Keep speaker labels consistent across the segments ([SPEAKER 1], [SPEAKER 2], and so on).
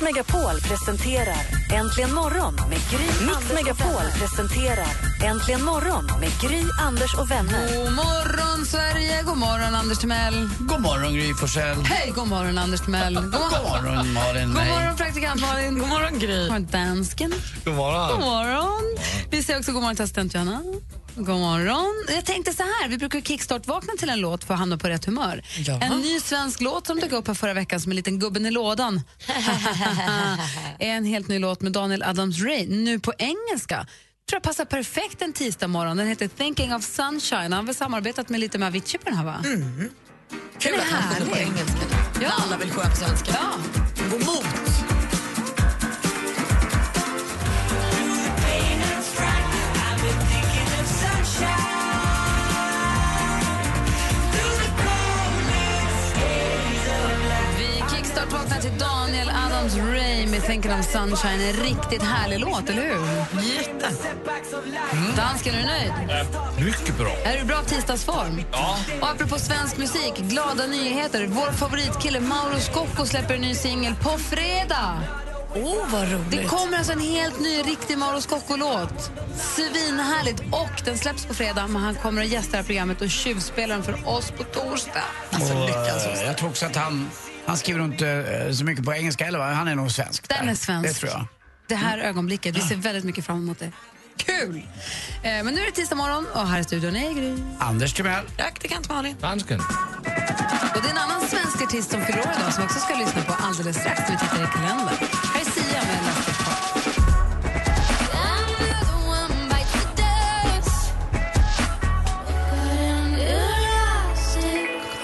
[SPEAKER 1] Megapol presenterar Äntligen morgon med Gry. Mix Megapol presenterar Äntligen morgon med Gry, Anders och vänner.
[SPEAKER 2] God morgon, Sverige! God morgon, Anders Timell!
[SPEAKER 3] God morgon Gry Forssell.
[SPEAKER 2] Hej, god morgon, Anders Timell! God
[SPEAKER 3] God
[SPEAKER 2] morgon,
[SPEAKER 3] morgon Malin.
[SPEAKER 2] god
[SPEAKER 3] Nej.
[SPEAKER 2] morgon praktikant Malin! God morgon, Gry! God morgon, dansken!
[SPEAKER 3] God morgon.
[SPEAKER 2] God morgon! Vi säger också god morgon till assistent Johanna. God morgon. Jag tänkte så här, vi brukar kickstart-vakna till en låt för att hamna på rätt humör.
[SPEAKER 3] Ja.
[SPEAKER 2] En ny svensk låt som dök upp här förra veckan som en liten gubben i lådan. är en helt ny låt med Daniel Adams-Ray, nu på engelska. Tror jag passar perfekt en tisdag morgon. Den heter Thinking of Sunshine. Han har väl samarbetat med lite med Avicii på den här va?
[SPEAKER 4] Mm. Kul att han sjunger på engelska nu.
[SPEAKER 2] Ja.
[SPEAKER 4] När alla vill sjunga på svenska.
[SPEAKER 2] Ja.
[SPEAKER 4] Gå mot.
[SPEAKER 2] Vi kickstart-vaknar till Daniel Adams-Ray med Thinking of Sunshine. En riktigt härlig låt, eller hur?
[SPEAKER 4] Jätte.
[SPEAKER 2] Dansken, är du nöjd?
[SPEAKER 3] Mycket bra.
[SPEAKER 2] Är du bra tisdagsform? Ja. Och apropå svensk musik, glada nyheter. Vår favoritkille Mauro Scocco släpper en ny singel på fredag.
[SPEAKER 4] Åh, vad roligt.
[SPEAKER 2] Det kommer alltså en helt ny, riktig Mauro Scocco-låt. Svinhärligt. Och den släpps på fredag, men han kommer att gästa det här programmet och tjuvspela den för oss på torsdag.
[SPEAKER 4] Alltså, lyckas
[SPEAKER 5] Eh, Jag tror också att han, han skriver inte eh, så mycket på engelska heller va? Han är nog svensk.
[SPEAKER 2] Den
[SPEAKER 5] där.
[SPEAKER 2] är svensk.
[SPEAKER 5] Det tror jag. Mm.
[SPEAKER 2] Det här ögonblicket. Vi ser väldigt mycket fram emot det. Kul! Eh, Men nu är det tisdag morgon och här i studion är Gry.
[SPEAKER 5] Anders Timell.
[SPEAKER 4] Praktikant Malin.
[SPEAKER 3] Dansken.
[SPEAKER 2] Och det är en annan svensk artist som fyller år idag som vi också ska lyssna på alldeles strax när vi tittar i kalendern. Här är Sia med Last of Us.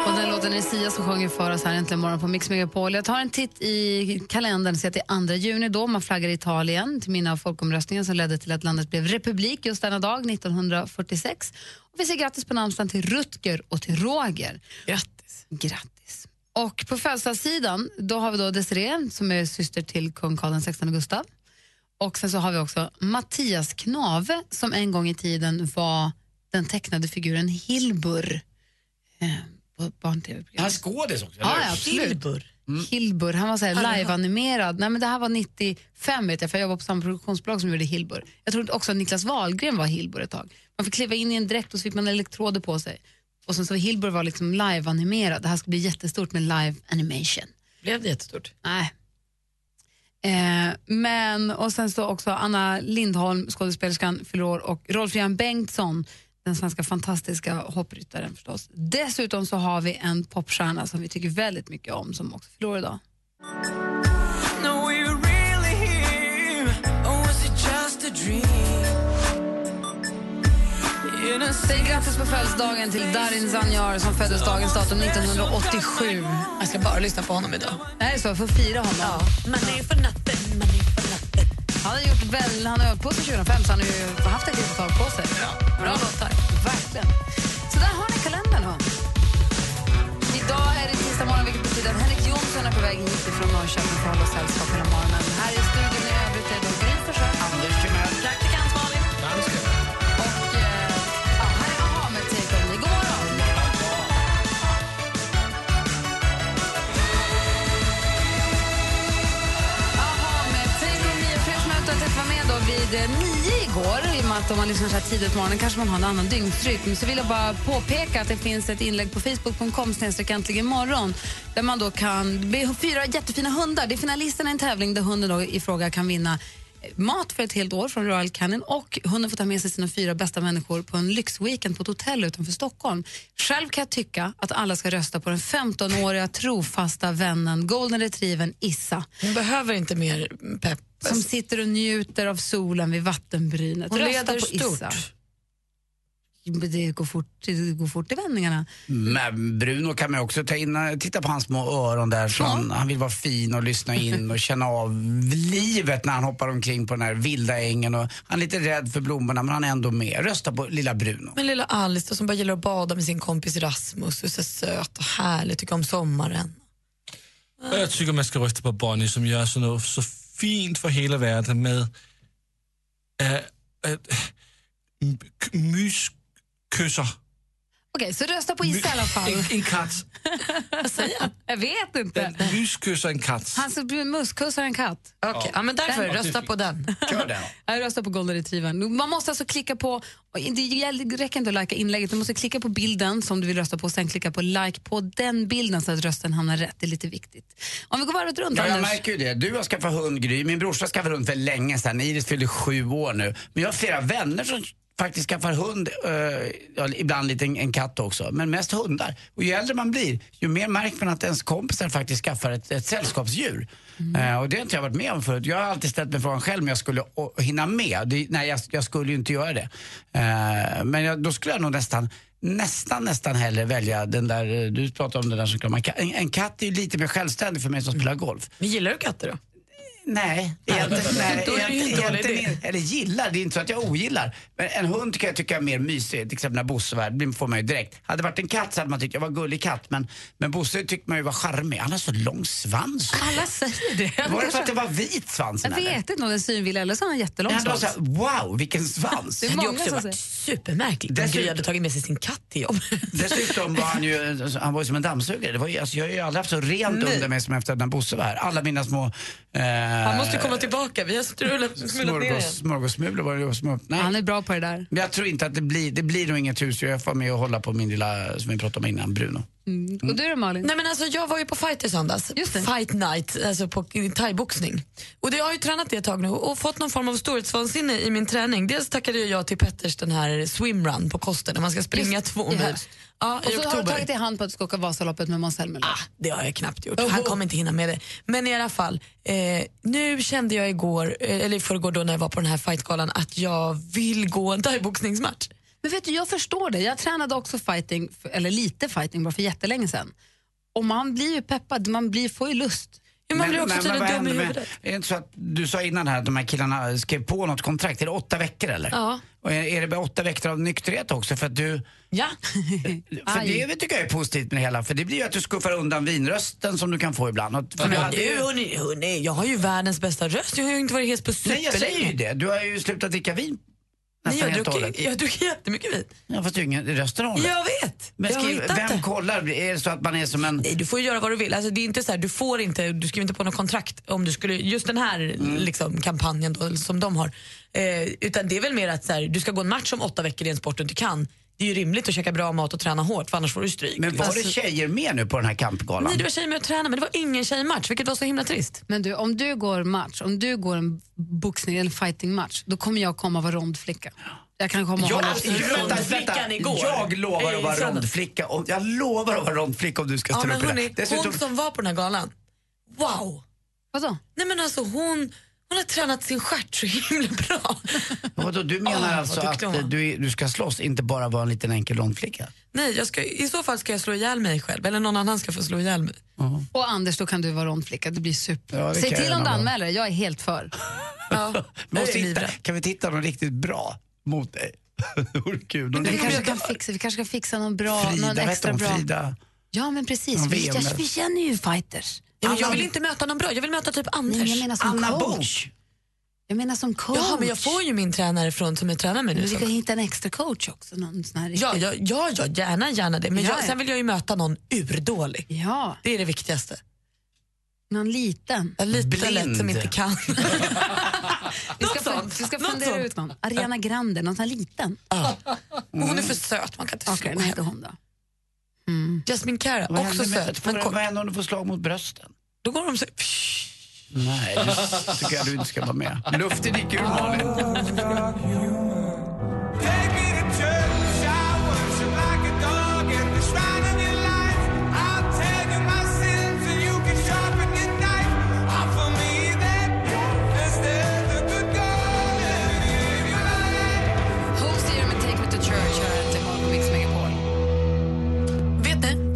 [SPEAKER 2] Och den låten är Sia som sjunger för oss här äntligen morgon på Mix Megapol. Jag tar en titt i kalendern och ser att det är 2 juni då man flaggar i Italien till minne av folkomröstningen som ledde till att landet blev republik just denna dag 1946. Och vi säger grattis på namnsdagen till Rutger och till Roger.
[SPEAKER 4] Grattis.
[SPEAKER 2] Grattis. Och på födelsedagssidan, då har vi då Desiree som är syster till kung Carl XVI Gustav. Och sen så har vi också Mattias Knave som en gång i tiden var den tecknade figuren Hilbur eh, på barn-tv-programmet.
[SPEAKER 5] Han skådis också.
[SPEAKER 2] Ja, ja, absolut. Mm.
[SPEAKER 4] Silver.
[SPEAKER 2] Hilbur, han var så här live-animerad. Nej, men det här var 95 vet jag, för jag jobbade på samma produktionsbolag som gjorde Hilbur. Jag trodde också att Niklas Wahlgren var Hilbur ett tag. Man fick kliva in i en dräkt och så fick man elektroder på sig. Och sen så Hilbur var liksom live-animerad. Det här skulle bli jättestort med live animation.
[SPEAKER 4] Blev det jättestort?
[SPEAKER 2] Nej. Eh, men, och sen så också Anna Lindholm, skådespelerskan, fyller år och Rolf-Göran Bengtsson, den svenska fantastiska hoppryttaren förstås. Dessutom så har vi en popstjärna som vi tycker väldigt mycket om som också fyller år idag. Säg grattis på födelsedagen till Darin Zanjar som föddes dagens datum 1987.
[SPEAKER 4] Jag ska bara lyssna på honom idag.
[SPEAKER 2] Det här är så, jag får fira honom.
[SPEAKER 4] Man är för natten, man är för natten.
[SPEAKER 2] Han har gjort väl, han har hållit på sig 2005 så han har ju haft ett litet tag på sig. Bra låtar. Verkligen. Så där har ni kalendern då. Idag är det tisdag morgon vilket betyder att Henrik Jonsson är på väg hit från Norrköping för att hålla oss sällskap hela morgonen. Här i studion i övrigt är då Gry Forssell. Anders Timell.
[SPEAKER 4] Praktikant Malin.
[SPEAKER 3] Dansken.
[SPEAKER 2] Och eh, ja, här är Aha med Take On Me. God morgon! Aha med Take On Me. Och för er som inte har tänkt vara med då vid eh, nio igår, i och med att om man lyssnar så här tidigt på morgonen kanske man har en annan dygnsrytm, så vill jag bara påpeka att det finns ett inlägg på facebook.com snedstreck äntligen morgon där man då kan... Det är fyra jättefina hundar. Det är finalisterna i en tävling där hunden då i fråga kan vinna eh, mat för ett helt år från Royal Canin och hunden får ta med sig sina fyra bästa människor på en lyxweekend på ett hotell utanför Stockholm. Själv kan jag tycka att alla ska rösta på den 15-åriga trofasta vännen golden retrievern Issa
[SPEAKER 4] Hon behöver inte mer pepp.
[SPEAKER 2] som sitter och njuter av solen vid vattenbrynet.
[SPEAKER 4] Hon
[SPEAKER 2] Rösta
[SPEAKER 4] leder
[SPEAKER 2] på
[SPEAKER 4] stort.
[SPEAKER 2] Issa. det går fort, det går fort i vändningarna.
[SPEAKER 5] Men Bruno kan man ju också ta in, eh, titta på hans små öron där. Så han, han vill vara fin och lyssna in och känna av livet när han hoppar omkring på den här vilda ängen. Och han är lite rädd för blommorna men han är ändå med. Rösta på lilla Bruno.
[SPEAKER 4] Men lilla Alice då, som bara gillar att bada med sin kompis Rasmus och är så söt och härlig, tycker om sommaren.
[SPEAKER 6] Jag tycker man ska rösta på Bonnie som gör så, något så fint för hela världen med äh, myskyssar.
[SPEAKER 2] Okej, så rösta på Isa i alla fall.
[SPEAKER 6] En, en katt.
[SPEAKER 2] Jag vet inte.
[SPEAKER 6] Myskysser en katt.
[SPEAKER 2] Han så blir muskussar en katt.
[SPEAKER 4] Okej, ja. men därför rösta på den.
[SPEAKER 5] Kör den.
[SPEAKER 2] Jag röstar på golden retrievern. Man måste alltså klicka på, och det gäller- det räcker inte att lajka inlägget, du måste klicka på bilden som du vill rösta på och sen klicka på like på den bilden så att rösten hamnar rätt. Det är lite viktigt. Om vi går varvet runt,
[SPEAKER 5] Ja, jag
[SPEAKER 2] Anders.
[SPEAKER 5] märker ju det. Du har skaffat hund, Gry. Min brorsa skaffade hund för länge sedan. Iris fyllde sju år nu. Men jag har flera vänner som faktiskt skaffar hund, eh, ja, ibland lite en, en katt också, men mest hundar. Och ju äldre man blir, ju mer märker man att ens kompisar faktiskt skaffar ett, ett sällskapsdjur. Eh, och det har inte jag varit med om förut. Jag har alltid ställt mig frågan själv om jag skulle å- hinna med. Det, nej, jag, jag skulle ju inte göra det. Eh, men jag, då skulle jag nog nästan nästan, nästan hellre välja den där, eh, du pratade om den där som kan man, en, en katt är ju lite mer självständig för mig som spelar golf.
[SPEAKER 4] Men gillar du katter då?
[SPEAKER 5] Nej, egentligen, nej
[SPEAKER 4] Då är det ju en
[SPEAKER 5] egentligen,
[SPEAKER 4] dålig idé.
[SPEAKER 5] egentligen, eller gillar, det är inte så att jag ogillar. Men en hund kan jag tycka är mer mysig, till exempel när Bosse var här, det får man ju direkt. Hade det varit en katt så hade man tyckt jag var gullig katt, men, men Bosse tyckte man ju var charmig. Han har så lång svans.
[SPEAKER 4] Ah,
[SPEAKER 2] Alla säger det.
[SPEAKER 5] Var det för att det var vit svans?
[SPEAKER 2] Jag vet inte om den synvilliga eller så har han jättelång
[SPEAKER 5] Han var
[SPEAKER 2] svans.
[SPEAKER 5] så här, wow, vilken svans.
[SPEAKER 2] Det
[SPEAKER 4] Det hade ju
[SPEAKER 2] många
[SPEAKER 4] också
[SPEAKER 2] som
[SPEAKER 4] varit supermärkligt om
[SPEAKER 5] Dessutom-
[SPEAKER 4] Gry hade tagit med sig sin katt till jobbet.
[SPEAKER 5] Dessutom var han ju, alltså, han var ju som en dammsugare. Det var ju, alltså, jag har ju aldrig haft så rent under mig som efter när Bosse var här. Alla mina små... Eh,
[SPEAKER 4] Han måste komma tillbaka, vi har strulat smulat ner
[SPEAKER 5] smörgås,
[SPEAKER 4] igen.
[SPEAKER 5] smörgåssmulor var det ju små, nej.
[SPEAKER 2] Han är bra på det där.
[SPEAKER 5] Men jag tror inte att det blir, det blir nog inget husdjur. Jag får med och hålla på min lilla, som vi pratade om innan, Bruno.
[SPEAKER 2] Och du då Malin?
[SPEAKER 4] Nej men alltså jag var ju på fight i söndags,
[SPEAKER 2] Just det.
[SPEAKER 4] fight night, alltså på thaiboxning. Och det, jag har ju tränat det ett tag nu och fått någon form av storhetsvansinne i min träning. Dels tackade jag till Petters den här swimrun på Koster när man ska springa
[SPEAKER 2] Just,
[SPEAKER 4] två
[SPEAKER 2] i
[SPEAKER 4] mil.
[SPEAKER 2] höst.
[SPEAKER 4] Ja,
[SPEAKER 2] Och
[SPEAKER 4] i
[SPEAKER 2] så har du
[SPEAKER 4] oktober.
[SPEAKER 2] tagit i hand på att du ska åka Vasaloppet med Måns Zelmerlöw.
[SPEAKER 4] Ah, det har jag knappt gjort. Han kommer inte hinna med det. Men i alla fall, eh, nu kände jag igår, eh, eller i förrgår då när jag var på den här fightgalan att jag vill gå en thaiboxningsmatch.
[SPEAKER 2] Men vet du, jag förstår det. Jag tränade också fighting, för- eller lite fighting bara för jättelänge sedan. Och man blir ju peppad, man blir, får ju lust.
[SPEAKER 4] Ja, Man blir också
[SPEAKER 5] vad
[SPEAKER 4] tydligen dum i
[SPEAKER 5] händer med-
[SPEAKER 4] huvudet.
[SPEAKER 5] Är det inte så att du sa innan här att de här killarna skrev på något kontrakt? Är det åtta veckor eller?
[SPEAKER 2] Ja.
[SPEAKER 5] Och är, är det bara åtta veckor av nykterhet också? För att du...
[SPEAKER 4] Ja.
[SPEAKER 5] För
[SPEAKER 2] Aj.
[SPEAKER 5] det tycker jag är positivt med det hela. För det blir ju att du skuffar undan vinrösten som du kan få ibland. Och- för
[SPEAKER 4] Men
[SPEAKER 5] du hade
[SPEAKER 4] du,
[SPEAKER 5] ju-
[SPEAKER 4] hörni, hörni, jag har ju världens bästa röst. Jag har ju inte varit hes på
[SPEAKER 5] Nej, jag säger ju
[SPEAKER 4] superlänge.
[SPEAKER 5] det. Du har ju slutat dricka vin
[SPEAKER 4] Nej,
[SPEAKER 5] nästan
[SPEAKER 4] jag
[SPEAKER 5] helt och hållet.
[SPEAKER 4] druckit- jag har druckit jättemycket vin.
[SPEAKER 5] Ja, fast du har ingen rösten har du.
[SPEAKER 4] Jag vet!
[SPEAKER 5] Men
[SPEAKER 4] jag
[SPEAKER 5] skriv,
[SPEAKER 4] har hittat
[SPEAKER 5] vem
[SPEAKER 4] det.
[SPEAKER 5] kollar? Är det så att man är som en...
[SPEAKER 4] Nej, du får ju göra vad du vill. Alltså, det är inte så här, du får inte, du skriver inte på något kontrakt om du skulle, just den här
[SPEAKER 5] Mm.
[SPEAKER 4] liksom, kampanjen då, som de har. Eh, utan det är väl mer att så här, du ska gå en match om åtta veckor i en sport du inte kan. Det är ju rimligt att käka bra mat och träna hårt för annars får du stryk.
[SPEAKER 5] Men var det
[SPEAKER 4] Alltså,
[SPEAKER 5] tjejer med nu på den här kampgalan?
[SPEAKER 4] Nej, det var tjejer med att träna men det var ingen tjejmatch vilket var så himla trist.
[SPEAKER 2] Men du, om du går match, om du går en boxning eller fighting-match, då kommer jag komma vara rondflicka. Jag kan komma och
[SPEAKER 5] Jag,
[SPEAKER 2] hålla
[SPEAKER 5] alltså, vänta, vänta.
[SPEAKER 4] Rondflickan igår.
[SPEAKER 5] jag lovar att
[SPEAKER 4] Eh,
[SPEAKER 5] vara
[SPEAKER 4] söndag.
[SPEAKER 5] rondflicka. Om, jag lovar att vara rondflicka om du ska
[SPEAKER 4] Ja,
[SPEAKER 5] ställa
[SPEAKER 4] men
[SPEAKER 5] upp i det.
[SPEAKER 4] hörni,
[SPEAKER 5] Dessutom,
[SPEAKER 4] hon som var på den här galan, wow!
[SPEAKER 2] Vadå?
[SPEAKER 4] Nej men alltså hon, hon har tränat sin stjärt så himla bra.
[SPEAKER 5] vadå, du menar
[SPEAKER 4] Åh, vad
[SPEAKER 5] alltså att
[SPEAKER 4] duktig hon
[SPEAKER 5] eh,
[SPEAKER 4] var.
[SPEAKER 5] du, du ska slåss, inte bara vara en liten enkel rondflicka?
[SPEAKER 4] Nej, jag ska, i så fall ska jag slå ihjäl mig själv eller någon annan ska få slå ihjäl mig.
[SPEAKER 2] Och Anders, då kan du vara rondflicka. Det blir super.
[SPEAKER 5] Ja, det
[SPEAKER 2] Säg
[SPEAKER 5] kan
[SPEAKER 2] till
[SPEAKER 5] jag
[SPEAKER 2] om du
[SPEAKER 5] gärna vara.
[SPEAKER 2] anmäler dig. jag är helt för.
[SPEAKER 4] Ja,
[SPEAKER 5] Vi
[SPEAKER 4] jag
[SPEAKER 5] Måste
[SPEAKER 4] är
[SPEAKER 5] hitta,
[SPEAKER 4] livrädd.
[SPEAKER 5] kan vi titta någon riktigt bra mot dig? det vore kul. Någon
[SPEAKER 2] Vi
[SPEAKER 5] riktigt-
[SPEAKER 2] kanske, kan fixa, vi kanske kan fixa någon bra,
[SPEAKER 5] Frida,
[SPEAKER 2] någon
[SPEAKER 5] vad hette
[SPEAKER 2] extra
[SPEAKER 5] hon?
[SPEAKER 2] bra.
[SPEAKER 5] Frida?
[SPEAKER 2] Ja, men precis.
[SPEAKER 5] Någon
[SPEAKER 2] Vi,
[SPEAKER 5] VM.
[SPEAKER 2] vi känner ju fighters.
[SPEAKER 4] Ja, men jag
[SPEAKER 5] Anna-
[SPEAKER 4] vill inte möta någon bra, jag vill möta typ Anders.
[SPEAKER 2] Nej, jag menar som
[SPEAKER 5] Anna
[SPEAKER 2] coach.
[SPEAKER 5] Bok.
[SPEAKER 2] Jag menar som coach.
[SPEAKER 4] Jaha, men jag får ju min tränare från som jag tränar med
[SPEAKER 2] Men
[SPEAKER 4] nu.
[SPEAKER 2] vi ska
[SPEAKER 4] som-
[SPEAKER 2] hitta en extra coach också. Någon sån här
[SPEAKER 4] Ja,
[SPEAKER 2] riktig-
[SPEAKER 4] ja, ja, ja, gärna, gärna det. Men
[SPEAKER 2] Ja,
[SPEAKER 4] jag,
[SPEAKER 2] ja.
[SPEAKER 4] sen vill jag ju möta någon urdålig.
[SPEAKER 2] ja,
[SPEAKER 4] Det är det viktigaste.
[SPEAKER 2] någon liten.
[SPEAKER 4] Ja, Lite
[SPEAKER 5] Blind.
[SPEAKER 4] lätt som inte kan.
[SPEAKER 2] Vi ska,
[SPEAKER 4] Något
[SPEAKER 2] fun-
[SPEAKER 4] sånt.
[SPEAKER 2] vi ska
[SPEAKER 4] Något
[SPEAKER 2] fundera
[SPEAKER 4] sånt.
[SPEAKER 2] ut någon. Ariana Grande, någon sån här liten.
[SPEAKER 4] Hon är för söt, man kan inte
[SPEAKER 2] Okej,
[SPEAKER 4] slå
[SPEAKER 2] vad heter
[SPEAKER 4] henne.
[SPEAKER 2] hon då?
[SPEAKER 4] Jasmine
[SPEAKER 5] Vad
[SPEAKER 4] Cara, också
[SPEAKER 5] händer med-
[SPEAKER 4] söt. Men
[SPEAKER 5] får-
[SPEAKER 4] kort.
[SPEAKER 5] Vad händer om du får slag mot brösten?
[SPEAKER 4] Då går de så
[SPEAKER 5] Nej, det tycker jag du inte ska vara med. Luften gick ur Malin.
[SPEAKER 2] Who's here med Take Me To Church?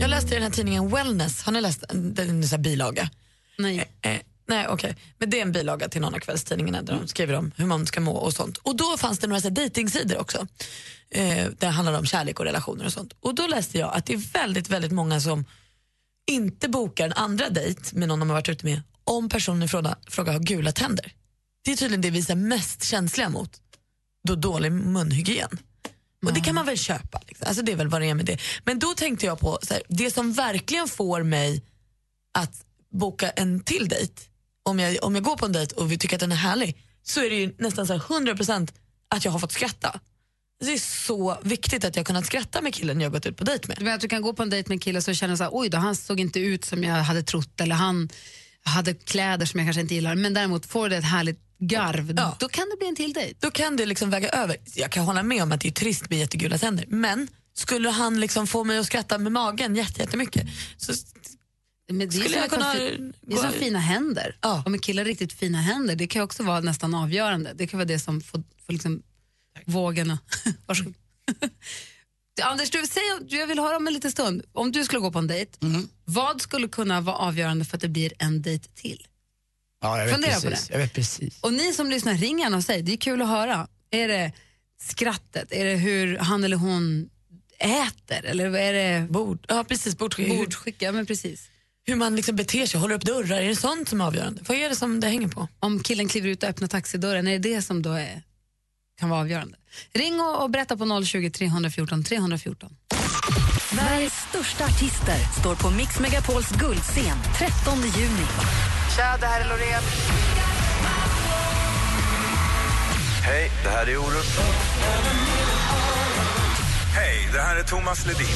[SPEAKER 2] Här, till
[SPEAKER 4] den här tidningen Wellness, har ni läst den? Det är en sån här bilaga.
[SPEAKER 2] Nej.
[SPEAKER 4] Eh, Mm. nej, okej. Men det är en bilaga till någon av kvällstidningarna där de skriver om hur man ska må och sånt. Och då fanns det några så här dejtingsidor också. Eh, där det handlade om kärlek och relationer och sånt. Och då läste jag att det är väldigt, väldigt många som inte bokar en andra dejt med någon de har varit ute med om personen i fråga, fråga har gula tänder. Det är tydligen det vi är så här mest känsliga mot. Då dålig munhygien. Och det kan man väl köpa. Liksom. Alltså det är väl vad det är med det. Men då tänkte jag på, så här, det som verkligen får mig att boka en till dejt, om jag, om jag går på en dejt och vi tycker att den är härlig, så är det ju nästan så här 100% att jag har fått skratta. Det är så viktigt att jag har kunnat skratta med killen jag gått ut på dejt med.
[SPEAKER 2] Du vet att du kan gå på en dejt med en kille och känna så här, oj då, han såg inte ut som jag hade trott eller han hade kläder som jag kanske inte gillar. Men däremot får du ett härligt garv,
[SPEAKER 4] Ja.
[SPEAKER 2] då kan det bli en till dejt.
[SPEAKER 4] Då kan det liksom väga över. Jag kan hålla med om att det är trist med jättegula tänder, men skulle han liksom få mig att skratta med magen jätte- jättemycket så
[SPEAKER 2] Men det är
[SPEAKER 4] Skulle
[SPEAKER 2] som
[SPEAKER 4] jag
[SPEAKER 2] att
[SPEAKER 4] kunna
[SPEAKER 2] ha fi- det är
[SPEAKER 4] gå-
[SPEAKER 2] som fina händer.
[SPEAKER 4] Ja.
[SPEAKER 2] Om en kille har riktigt fina händer, det kan ju också vara nästan avgörande. Det kan vara det som får, får liksom vågen att- Varsågod. Anders, du, säg, jag vill höra om en liten stund. Om du skulle gå på en dejt,
[SPEAKER 4] Mm.
[SPEAKER 2] vad skulle kunna vara avgörande för att det blir en dejt till?
[SPEAKER 5] Ja, jag vet
[SPEAKER 2] Fundera på
[SPEAKER 5] precis.
[SPEAKER 2] det.
[SPEAKER 5] Jag vet precis.
[SPEAKER 2] Och ni som lyssnar, ring gärna och säg. Det är kul att höra. Är det skrattet? Är det hur han eller hon äter? Eller vad är det
[SPEAKER 4] bord, ja, precis, bordskick, Hur,
[SPEAKER 2] bordskick? Ja, men precis.
[SPEAKER 4] hur man liksom beter sig, håller upp dörrar, är det sånt som är avgörande? Vad är det som det hänger på?
[SPEAKER 2] om killen kliver ut och öppnar taxidörren, är det det som då är, kan vara avgörande? Ring och, och berätta på 020 314 314.
[SPEAKER 1] Sveriges största artister står på Mix Megapols guldscen 13 juni.
[SPEAKER 7] Hej, det här är Orup. Hej, det här är Thomas Ledin.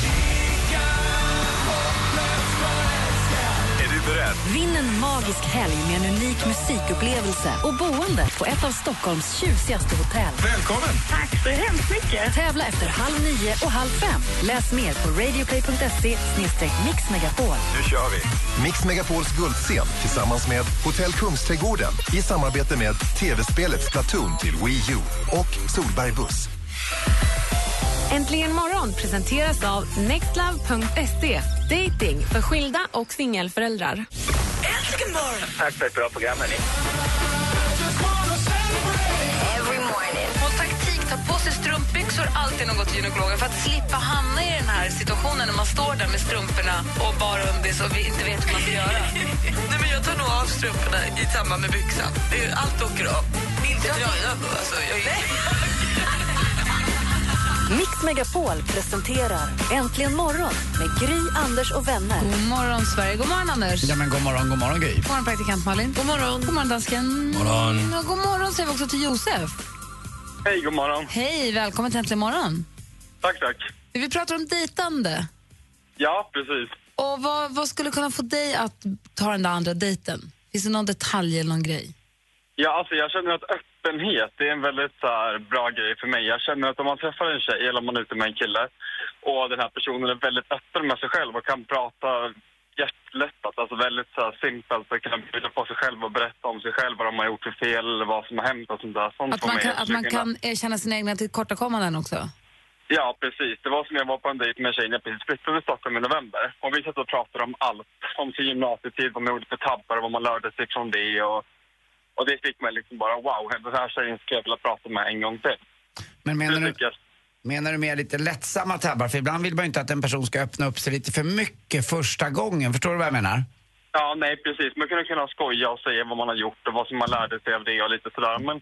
[SPEAKER 7] Är du beredd?
[SPEAKER 1] Vinn en magisk helg med en unik musikupplevelse och boende på ett av Stockholms tjusigaste hotell.
[SPEAKER 7] Välkommen!
[SPEAKER 1] Tävla efter halv nio och halv fem. Läs mer på radioplay.se mixmegapol.
[SPEAKER 7] Nu kör vi!
[SPEAKER 8] Mix Megapols guldscen tillsammans med Hotell Kungsträdgården i samarbete med tv-spelet Splatoon till Wii U och Solberg Buss.
[SPEAKER 1] Äntligen morgon presenteras av nextlove.se. Dating för skilda och singelföräldrar.
[SPEAKER 7] Tack för ett bra program, hörni.
[SPEAKER 2] Och taktik, ta på sig strumpbyxor alltid när man går till gynekologen för att slippa hamna i den här situationen när man står där med strumporna och bara undis och vi inte vet hur man ska göra.
[SPEAKER 4] Nej, men jag tar nog av strumporna i samband med byxan. Det är- Allt åker av. Inte tröjan då alltså. Jag är...
[SPEAKER 1] Mix Megapol presenterar Äntligen morgon med Gry, Anders och vänner.
[SPEAKER 2] God morgon, Sverige. God morgon, Anders.
[SPEAKER 5] Ja, men god morgon, god morgon Gry.
[SPEAKER 2] God morgon, praktikant Malin. God morgon. God morgon, dansken. God
[SPEAKER 6] morgon.
[SPEAKER 2] God morgon säger vi också till Josef.
[SPEAKER 7] Hej, god morgon.
[SPEAKER 2] Hej, välkommen till Äntligen morgon.
[SPEAKER 7] Tack, tack.
[SPEAKER 2] Vi pratar om dejtande.
[SPEAKER 7] Ja, precis.
[SPEAKER 2] Och vad, vad skulle kunna få dig att ta den där andra dejten? Finns det någon detalj eller någon grej?
[SPEAKER 7] Ja, alltså jag känner att öppenhet det är en väldigt så här, bra grej för mig. Jag känner att om man träffar en tjej eller om man är ute med en kille och den här personen är väldigt öppen med sig själv och kan prata hjärtlättat, alltså väldigt så här, simpelt och kan bjuda på sig själv och berätta om sig själv, vad de har gjort för fel eller vad som har hänt och sånt där. Sånt
[SPEAKER 2] Att
[SPEAKER 7] får
[SPEAKER 2] man
[SPEAKER 7] mig
[SPEAKER 2] kan, att man
[SPEAKER 7] försöka-
[SPEAKER 2] kan erkänna sina egna tillkortakommanden också?
[SPEAKER 7] Ja, precis. Det var som jag var på en dejt med en tjej när jag precis flyttade till Stockholm i november. Och vi satt och pratade om allt. Om sin gymnasietid, vad man gjorde för tabbar och vad man lärde sig från det. Och, och det fick mig liksom bara wow, den här tjejen skulle jag vilja prata med en gång till.
[SPEAKER 5] Men menar
[SPEAKER 7] Det
[SPEAKER 5] du,
[SPEAKER 7] tycker jag.
[SPEAKER 5] menar du mer lite lättsamma tabbar? För ibland vill man ju inte att en person ska öppna upp sig lite för mycket första gången. Förstår du vad jag menar?
[SPEAKER 7] Ja, nej precis. Man kunde kunna skoja och säga vad man har gjort och vad som man lärde sig av det och lite sådär. Men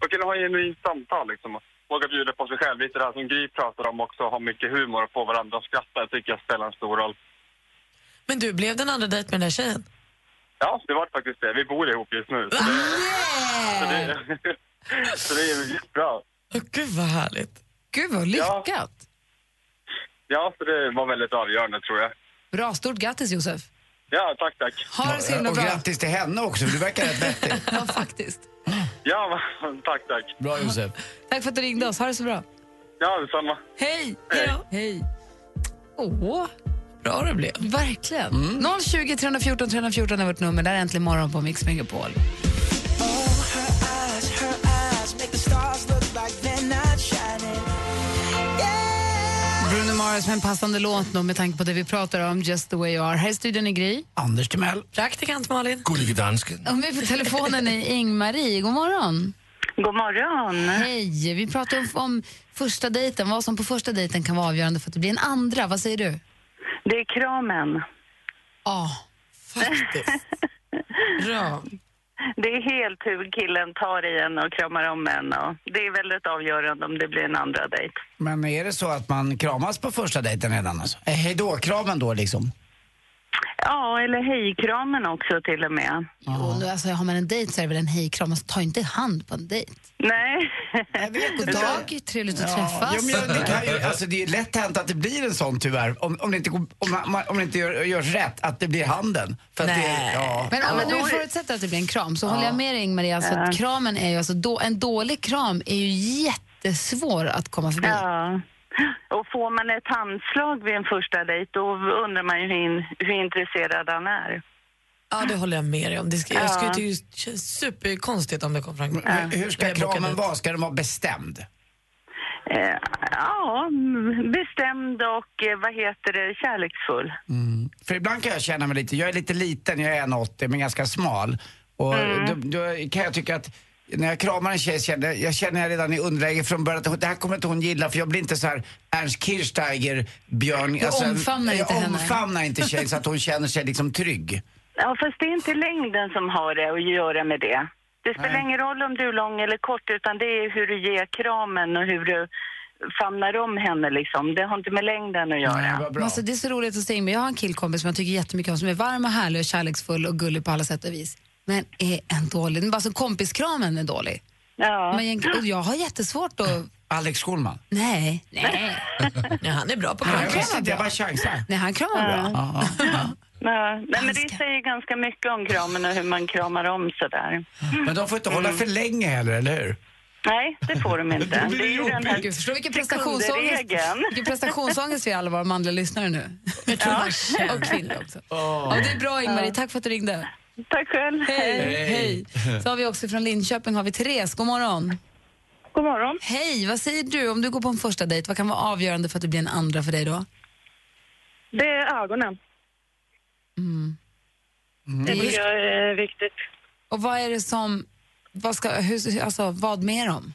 [SPEAKER 7] man kunde ha en genuint samtal liksom. Våga bjuda på sig själv. Lite det här som Gry pratar om också, ha mycket humor och få varandra att skratta. Det tycker jag spelar en stor roll.
[SPEAKER 4] Men du, blev den andra dejt med den där tjejen?
[SPEAKER 7] Ja, det var faktiskt det. Vi bor ihop just nu. Så det, så det, så det är jättebra.
[SPEAKER 4] Åh, Gud vad härligt.
[SPEAKER 2] Gud vad lyckat!
[SPEAKER 7] lyckat! Ja, så det var väldigt avgörande tror jag.
[SPEAKER 2] Bra, stort grattis Josef!
[SPEAKER 7] Ja, tack, tack.
[SPEAKER 2] Ha det så himla
[SPEAKER 5] Och
[SPEAKER 2] bra!
[SPEAKER 5] grattis till henne också, för du verkar rätt vettig.
[SPEAKER 2] Ja, faktiskt.
[SPEAKER 7] Ja, tack, tack.
[SPEAKER 5] Bra Josef.
[SPEAKER 2] Tack för att du ringde oss, ha det så bra!
[SPEAKER 7] Ja, detsamma.
[SPEAKER 2] Hej!
[SPEAKER 7] Hej.
[SPEAKER 2] Hej! Åh,
[SPEAKER 4] Bra det blev.
[SPEAKER 2] verkligen! 020 314 314 är vårt nummer, där är äntligen morgon på Mix Megapol.
[SPEAKER 5] Bruno
[SPEAKER 2] Mars med en passande låt då, med tanke på det vi pratar om, Just the way you are. Här i studion är Gry.
[SPEAKER 5] Anders Timell.
[SPEAKER 4] Praktikant Malin.
[SPEAKER 3] Gullige dansken.
[SPEAKER 2] Och med på telefonen är Ing-Marie. God morgon.
[SPEAKER 9] God morgon.
[SPEAKER 2] Hej. Vi pratar om, om första dejten, vad som på första dejten kan vara avgörande för att det blir en andra. Vad säger du?
[SPEAKER 9] Det är kramen.
[SPEAKER 2] Ja,
[SPEAKER 4] faktiskt. Bra.
[SPEAKER 9] Det är helt hur killen tar i en och kramar om en. Och det är väldigt avgörande om det blir en andra dejt.
[SPEAKER 5] Men är det så att man kramas på första dejten redan alltså? Eh, Hej då, kramen då liksom.
[SPEAKER 9] Ja, eller hejkramen också till och med.
[SPEAKER 2] Jo, nu, alltså, har man en dejt så är det väl en hejkram, alltså, ta inte hand på en dejt.
[SPEAKER 9] Nej.
[SPEAKER 2] God dag, trevligt att
[SPEAKER 5] Ja,
[SPEAKER 2] träffas.
[SPEAKER 5] men jag- det, kan ju, alltså, det är lätt hänt att det blir en sån tyvärr. Om, om det inte, går- om, man- om det inte gör, görs rätt, att det blir handen. För att Det,
[SPEAKER 2] Nej.
[SPEAKER 5] ja.
[SPEAKER 2] Men om man
[SPEAKER 5] Ja.
[SPEAKER 2] nu förutsätter att det blir en kram så
[SPEAKER 5] Ja.
[SPEAKER 2] håller jag med dig Ingmarie. Alltså,
[SPEAKER 5] Ja.
[SPEAKER 2] att kramen är ju, alltså, då, en dålig kram är ju jättesvår att komma förbi.
[SPEAKER 9] Ja. Och får man ett handslag vid en första dejt då undrar man ju hur, in, hur intresserad han är.
[SPEAKER 4] Ja, det håller jag med dig om. Det ska, jag
[SPEAKER 9] Ja.
[SPEAKER 4] skulle tycka det känns superkonstigt om det kom fram.
[SPEAKER 5] Men hur- hur ska kramen vara? Ska den vara bestämd?
[SPEAKER 9] Eh, ja, mm, bestämd och eh, vad heter det, kärleksfull.
[SPEAKER 5] För ibland kan jag känna mig lite, jag är lite liten, jag är 1,80 men ganska smal. Och då, då kan jag tycka att när jag kramar en tjej känner jag- jag känner jag redan i underläge från början att hon- det här kommer inte hon gilla för jag blir inte så här Ernst Kirchsteiger, Björn... alltså,
[SPEAKER 9] Du omfamnar
[SPEAKER 5] jag
[SPEAKER 9] inte henne.
[SPEAKER 5] omfamnar inte tjejen så att hon känner sig liksom trygg.
[SPEAKER 9] Ja, fast det är inte längden som har det att göra med det. Det spelar ingen roll om du är lång eller kort, utan det är hur du ger kramen och hur du famnar om henne liksom. Det har inte med längden att göra.
[SPEAKER 2] Men Alltså, det är så roligt att säga, men jag har en killkompis som jag tycker jättemycket om som är varm och härlig och kärleksfull och gullig på alla sätt och vis. Men är en dålig, men bara så kompiskramen är dålig.
[SPEAKER 9] Ja.
[SPEAKER 2] Men jag, och jag har jättesvårt att...
[SPEAKER 5] Alex Schulman.
[SPEAKER 2] Nej, nej.
[SPEAKER 4] Nej, han är bra på
[SPEAKER 5] Nej,
[SPEAKER 4] kram.
[SPEAKER 5] jag visste inte, jag bara chansar.
[SPEAKER 2] Nej, han kramar bra.
[SPEAKER 5] Ja,
[SPEAKER 9] Nej, nej, men det säger ganska mycket om kramen och hur man kramar om sådär.
[SPEAKER 5] Men de får inte hålla för länge heller, eller hur?
[SPEAKER 9] Nej, det får de inte.
[SPEAKER 5] blir
[SPEAKER 9] Det är ju den här
[SPEAKER 2] Gud, förstår vilken prestationsångest,
[SPEAKER 9] sekunderregeln.
[SPEAKER 2] vilken prestationsångest vi alla var, de andra lyssnare nu.
[SPEAKER 9] Ja.
[SPEAKER 2] Och kvinnor också. Ja, det är bra Ingmarie, tack för att du ringde.
[SPEAKER 9] Tack själv.
[SPEAKER 2] Hej.
[SPEAKER 10] Hej.
[SPEAKER 2] Hej. Så har vi också från Linköping har vi Therese, god morgon.
[SPEAKER 9] God morgon.
[SPEAKER 2] Hej, vad säger du om du går på en första dejt? Vad kan vara avgörande för att det blir en andra för dig då?
[SPEAKER 11] Det är ögonen.
[SPEAKER 2] Mm.
[SPEAKER 11] Det tycker jag är viktigt.
[SPEAKER 2] Och vad är det som, vad ska, hur, alltså vad mer om?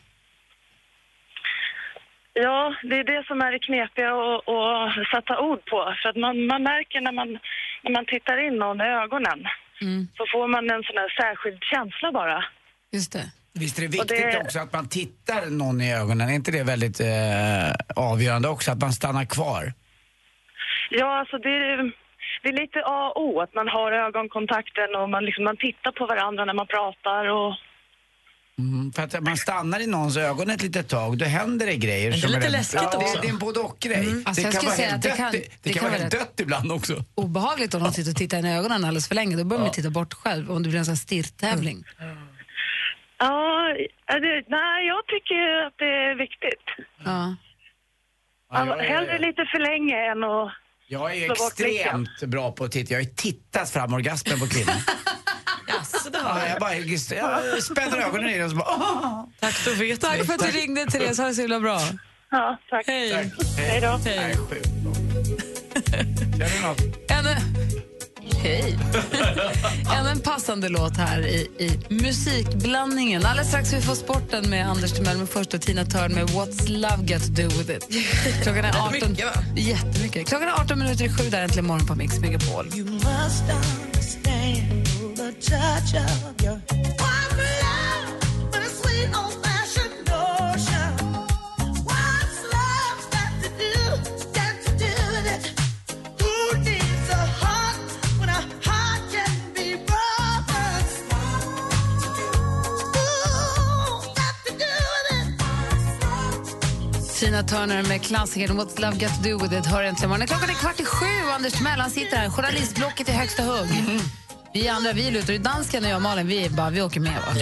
[SPEAKER 11] Ja, det är det som är det knepiga att, att sätta ord på. För att man, man märker när man, när man tittar in någon i ögonen så får man en sån här särskild känsla bara.
[SPEAKER 2] Just det.
[SPEAKER 5] Visst är det
[SPEAKER 11] Och
[SPEAKER 5] viktigt
[SPEAKER 11] det-
[SPEAKER 5] också att man tittar någon i ögonen? Är inte det väldigt eh, avgörande också, att man stannar kvar?
[SPEAKER 11] Ja, alltså det är, det är lite A och O att man har ögonkontakten och man, liksom, man tittar på varandra när man pratar och
[SPEAKER 5] Mm, för att man stannar i någons ögon ett litet tag, då händer det grejer.
[SPEAKER 2] Men det är
[SPEAKER 5] som
[SPEAKER 2] lite
[SPEAKER 5] rätt-
[SPEAKER 2] läskigt
[SPEAKER 5] ja,
[SPEAKER 2] också.
[SPEAKER 5] Det, det är en både och-grej.
[SPEAKER 2] Mm. Alltså,
[SPEAKER 5] det,
[SPEAKER 2] jag
[SPEAKER 5] kan
[SPEAKER 2] skulle
[SPEAKER 5] vara
[SPEAKER 2] säga
[SPEAKER 5] helt
[SPEAKER 2] att det
[SPEAKER 5] dött
[SPEAKER 2] kan-
[SPEAKER 5] i- det,
[SPEAKER 2] det
[SPEAKER 5] kan
[SPEAKER 2] kan
[SPEAKER 5] vara
[SPEAKER 2] vara
[SPEAKER 5] helt
[SPEAKER 2] rätt.
[SPEAKER 5] dött ibland också.
[SPEAKER 2] Obehagligt om någon sitter och tittar in i ögonen alldeles för länge. Då börjar man
[SPEAKER 5] Ja.
[SPEAKER 2] titta bort själv om det blir en sån här stirrtävling.
[SPEAKER 11] Ja, är det, nej, jag tycker att det är viktigt.
[SPEAKER 4] Mm.
[SPEAKER 2] Ja.
[SPEAKER 5] Ja, jag,
[SPEAKER 11] Hellre
[SPEAKER 5] är,
[SPEAKER 11] lite för länge än att...
[SPEAKER 5] jag är
[SPEAKER 11] slå bort
[SPEAKER 5] extremt bra på att titta. Jag har ju tittat fram orgasmer på kvinnor.
[SPEAKER 4] Jaså, det
[SPEAKER 5] ja, jag bara jag spänner ögonen i dem och så bara... "Åh!"
[SPEAKER 4] Tack, då vet
[SPEAKER 2] Tack
[SPEAKER 4] vi.
[SPEAKER 2] för att du ringde Therese, ha det så himla bra.
[SPEAKER 11] Ja, tack.
[SPEAKER 4] Hej.
[SPEAKER 11] Hej då.
[SPEAKER 5] Nej, sjukt. Känner du något?
[SPEAKER 2] Ännu... Hej. Ännu en passande låt här i, i musikblandningen. Alldeles strax vi får sporten med Anders Timell med först och Tina Turn med What's love got to do with it. Klockan är 18...
[SPEAKER 10] Mycket, va?
[SPEAKER 2] Jättemycket. Klockan är 18 minuter i sju, där äntligen morgon på Mix Megapol. Tina Turner med klassikern What's love got to do with it hör äntligen morgonen. Klockan är kvart i sju Anders Timell han sitter här. Journalistblocket i högsta hugg.
[SPEAKER 10] Mm.
[SPEAKER 2] Vi andra vi lutar i dansken och jag och Malin vi, är bara, vi åker med. Va?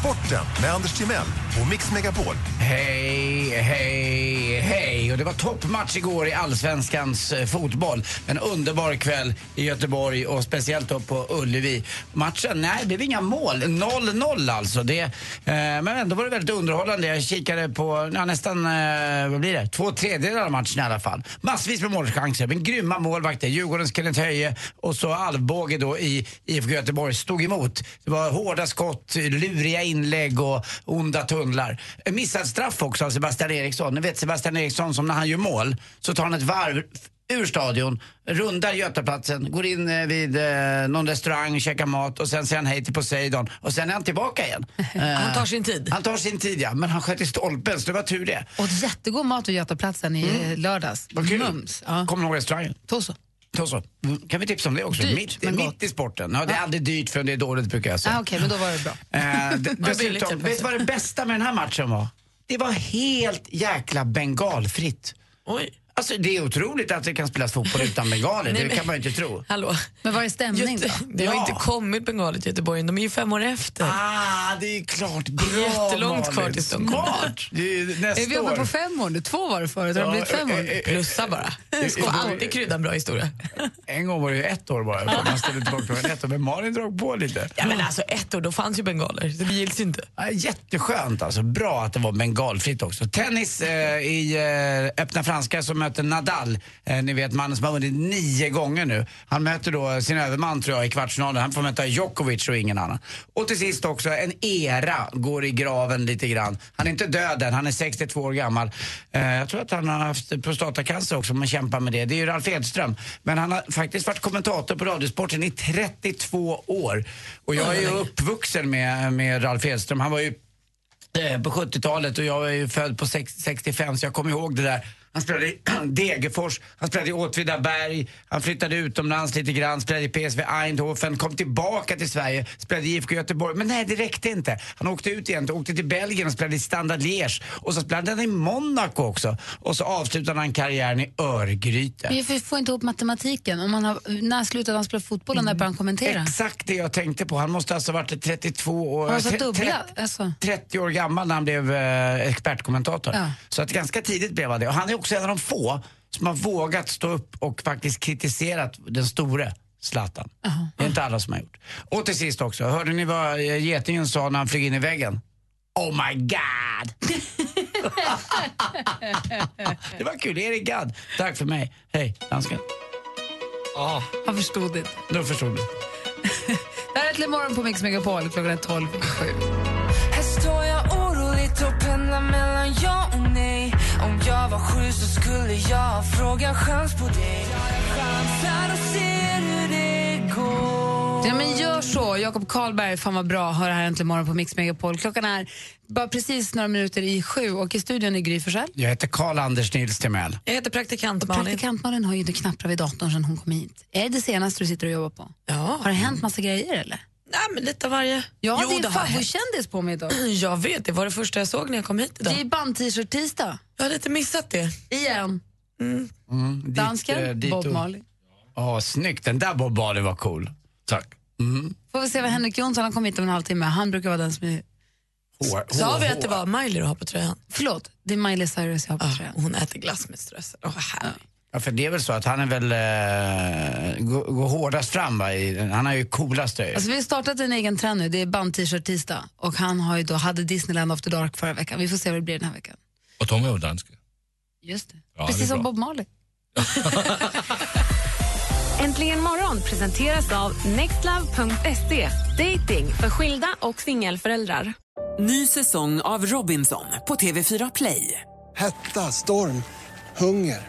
[SPEAKER 8] Sporten med Anders Timell på Mix Megapol.
[SPEAKER 5] Hej, hej, hej. Och det var toppmatch igår i allsvenskans eh, fotboll. En underbar kväll i Göteborg och speciellt då på Ullevi. Matchen, nej, det blev inga mål. 0-0 alltså. Det, eh, men ändå var det väldigt underhållande. Jag kikade på ja, nästan, eh, vad blir det? Två tredjedelar av matchen i alla fall. Massvis med målchanser, men grymma målvakter. Djurgårdens Kenneth Höje och så Alvbåge då i IFK Göteborg stod emot. Det var hårda skott, luriga inlägg och onda tunnlar. En missad straff också av Sebastian Eriksson. Ni vet Sebastian Eriksson som när han gör mål så tar han ett varv ur stadion, rundar Götaplatsen, går in eh, vid eh, någon restaurang, käkar mat och sen säger han hej till Poseidon och sen är han tillbaka igen. han
[SPEAKER 4] tar sin tid.
[SPEAKER 5] Han tar sin tid ja, men han sköt i stolpen så det var tur det.
[SPEAKER 2] Åt jättegod mat vid Götaplatsen i lördags.
[SPEAKER 5] Mm. Vad kul. Kommer du ihåg restaurangen?
[SPEAKER 2] Tosso.
[SPEAKER 5] Tosso. Mm, Kan vi tipsa om det också?
[SPEAKER 2] Dyrt,
[SPEAKER 5] mitt,
[SPEAKER 2] men
[SPEAKER 5] mitt i sporten. Ja, det är aldrig dyrt förrän det är dåligt brukar jag säga.
[SPEAKER 2] Ah, Okej, men då var det bra.
[SPEAKER 5] Eh, d-
[SPEAKER 2] Vad billigt
[SPEAKER 5] dessutom,
[SPEAKER 2] helt
[SPEAKER 5] vet du vad det bästa med den här matchen var? Det var helt jäkla bengalfritt.
[SPEAKER 4] Oj.
[SPEAKER 5] Alltså det är otroligt att det kan spelas fotboll utan bengaler,
[SPEAKER 4] Nej,
[SPEAKER 5] det
[SPEAKER 4] men-
[SPEAKER 5] kan man ju inte tro.
[SPEAKER 4] Hallå.
[SPEAKER 2] Men vad är stämning
[SPEAKER 4] Just,
[SPEAKER 2] då?
[SPEAKER 4] Det har
[SPEAKER 2] Ja.
[SPEAKER 4] inte kommit bengaler till Göteborg än. De är ju fem år efter.
[SPEAKER 5] Ah, det är klart. Bra,
[SPEAKER 4] Jättelångt kvar
[SPEAKER 5] Malin.
[SPEAKER 4] tills de
[SPEAKER 5] Smart. Det är nästa
[SPEAKER 2] är vi uppe
[SPEAKER 5] år.
[SPEAKER 2] på fem år nu? Två var det förut, har det
[SPEAKER 5] Ja,
[SPEAKER 2] blivit fem
[SPEAKER 5] eh,
[SPEAKER 2] år?
[SPEAKER 5] eh, eh,
[SPEAKER 4] Plussa bara.
[SPEAKER 5] eh,
[SPEAKER 4] Ska alltid krydda en bra historia.
[SPEAKER 5] En gång var det ju ett år bara, man ställde tillbaka det var ett år, men Malin drog på lite.
[SPEAKER 4] Ja, men alltså ett år, då fanns ju bengaler. Så det gills inte.
[SPEAKER 5] Ja, jätteskönt alltså. Bra att det var bengalfritt också. Tennis eh, i eh, öppna franska som möter Nadal. Eh, ni vet mannen som har vunnit nio gånger nu. Han möter då sin överman tror jag i kvartsfinalen. Han får möta Djokovic och ingen annan. Och till sist också, en era går i graven lite grann. Han är inte död än, han är 62 år gammal. Eh, jag tror att han har haft prostatacancer också, man kämpar med det. Det är ju Ralf Edström. Men han har faktiskt varit kommentator på Radiosporten i 32 år. Och jag är ju uppvuxen med, med Ralf Edström. Han var ju eh, på 70-talet och jag är ju född på sex- 65 så jag kommer ihåg det där. Han spelade i Degerfors, han spelade i Åtvidaberg, han flyttade utomlands lite grann, spelade i PSV Eindhoven, kom tillbaka till Sverige, spelade i IFK Göteborg. Men nej, det räckte inte. Han åkte ut igen, åkte till Belgien och spelade i Standard Liège. Och så spelade han i Monaco också. Och så avslutade han karriären i Örgryte.
[SPEAKER 2] Men jag får inte ihop matematiken. Om man har, när slutade han spela fotboll och när började han kommentera?
[SPEAKER 5] Exakt det jag tänkte på. Han måste alltså ha varit 32 år,
[SPEAKER 2] Han har så
[SPEAKER 5] tre-
[SPEAKER 2] dubbla, alltså.
[SPEAKER 5] 30 år gammal när han blev eh, expertkommentator.
[SPEAKER 2] Ja.
[SPEAKER 5] Så att ganska tidigt blev han det. Och han är också en av de få som har vågat stå upp och faktiskt kritiserat den store Zlatan. Det är inte alla som har gjort. Och till sist också, hörde ni vad eh, getingen sa när han flög in i väggen? Oh my god! Det var kul. Erik Gadd, tack för mig. Hej, dansken.
[SPEAKER 6] Oh.
[SPEAKER 2] Han förstod det.
[SPEAKER 5] Nu förstod du.
[SPEAKER 2] Det här är Äntligen morgon på Mix Megapol klockan är 12 i sju.
[SPEAKER 10] Här står jag oroligt och pendlar mellan ja och nej Om jag var sju så skulle jag fråga en chans på dig Jag chansar och ser hur det går
[SPEAKER 2] Ja, men gör så. Jakob Karlberg, fan vad bra. Hör det här äntligen morgon på Mix Megapol. Klockan är bara precis några minuter i sju och i studion är Gry Forssell.
[SPEAKER 5] Jag heter Karl-Anders Nils Timell.
[SPEAKER 4] Jag heter praktikant
[SPEAKER 2] Och Praktikantmannen har ju inte knapprat vid datorn sedan hon kom hit. Är det det senaste du sitter och jobbar på?
[SPEAKER 4] Ja.
[SPEAKER 2] Har det hänt massa grejer eller?
[SPEAKER 4] Nej, men lite av varje.
[SPEAKER 2] Jag
[SPEAKER 4] Jo,
[SPEAKER 2] hade ju
[SPEAKER 4] det har hänt.
[SPEAKER 2] favoritkändis på mig idag.
[SPEAKER 4] Jag vet, det var det första jag såg när jag kom hit idag.
[SPEAKER 2] Det är band-t-shirt-tisdag.
[SPEAKER 4] Jag har lite missat det.
[SPEAKER 2] Igen.
[SPEAKER 5] Mm, dit, eh,
[SPEAKER 2] Dansken,
[SPEAKER 5] dit
[SPEAKER 2] Bob
[SPEAKER 5] och-
[SPEAKER 2] Marley.
[SPEAKER 5] Ja, snyggt. Den där Bob Marley var cool. Tack. Mm.
[SPEAKER 2] Får vi se vad Henrik Jonsson, han kommer hit om en halvtimme. Han brukar vara den som är...
[SPEAKER 5] Hår,
[SPEAKER 4] Sa
[SPEAKER 5] hår,
[SPEAKER 4] vi att
[SPEAKER 5] hår.
[SPEAKER 4] det var Miley du har på tröjan?
[SPEAKER 2] Förlåt, det är Miley Cyrus jag har på
[SPEAKER 6] Ah.
[SPEAKER 2] tröjan.
[SPEAKER 4] Hon äter glass med strössel. Åh, vad härligt.
[SPEAKER 5] Ja, för det är väl så att han är väl... Eh, går, går hårdast fram, va? I, den- han har ju coolast tröjor.
[SPEAKER 2] Alltså, vi har startat en egen trend nu, det är band-t-shirt-tisdag. Och han har ju då, hade Disneyland After Dark förra veckan. Vi får se vad det blir den här veckan.
[SPEAKER 6] Och de är ju danska.
[SPEAKER 2] Just det.
[SPEAKER 6] Ja, det är
[SPEAKER 2] Precis som
[SPEAKER 6] bra.
[SPEAKER 2] Bob Marley.
[SPEAKER 12] Äntligen morgon presenteras av nextlove.se. Dating för skilda och singelföräldrar.
[SPEAKER 13] Ny säsong av Robinson på TV4 Play.
[SPEAKER 14] Hetta, storm, hunger.